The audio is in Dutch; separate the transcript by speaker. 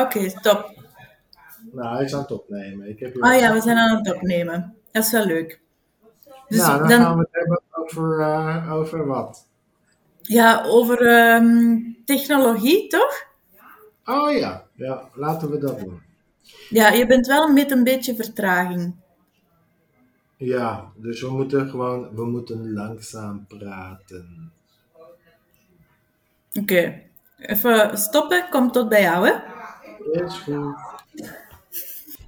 Speaker 1: Oké, top.
Speaker 2: Nou, hij is aan het opnemen. Ik heb hier
Speaker 1: Oh
Speaker 2: wat-
Speaker 1: ja, we zijn aan het opnemen. Dat is wel leuk. Dus
Speaker 2: nou, dan, gaan
Speaker 1: dan,
Speaker 2: we het hebben over, eh, over wat.
Speaker 1: ja, over ehm, technologie, toch?
Speaker 2: Oh ja. ja, laten we dat doen.
Speaker 1: Ja, je bent wel met een beetje vertraging.
Speaker 2: Ja, dus we moeten gewoon, we moeten langzaam praten.
Speaker 1: Oké. Even stoppen, komt tot bij jou, hè?
Speaker 2: Is goed.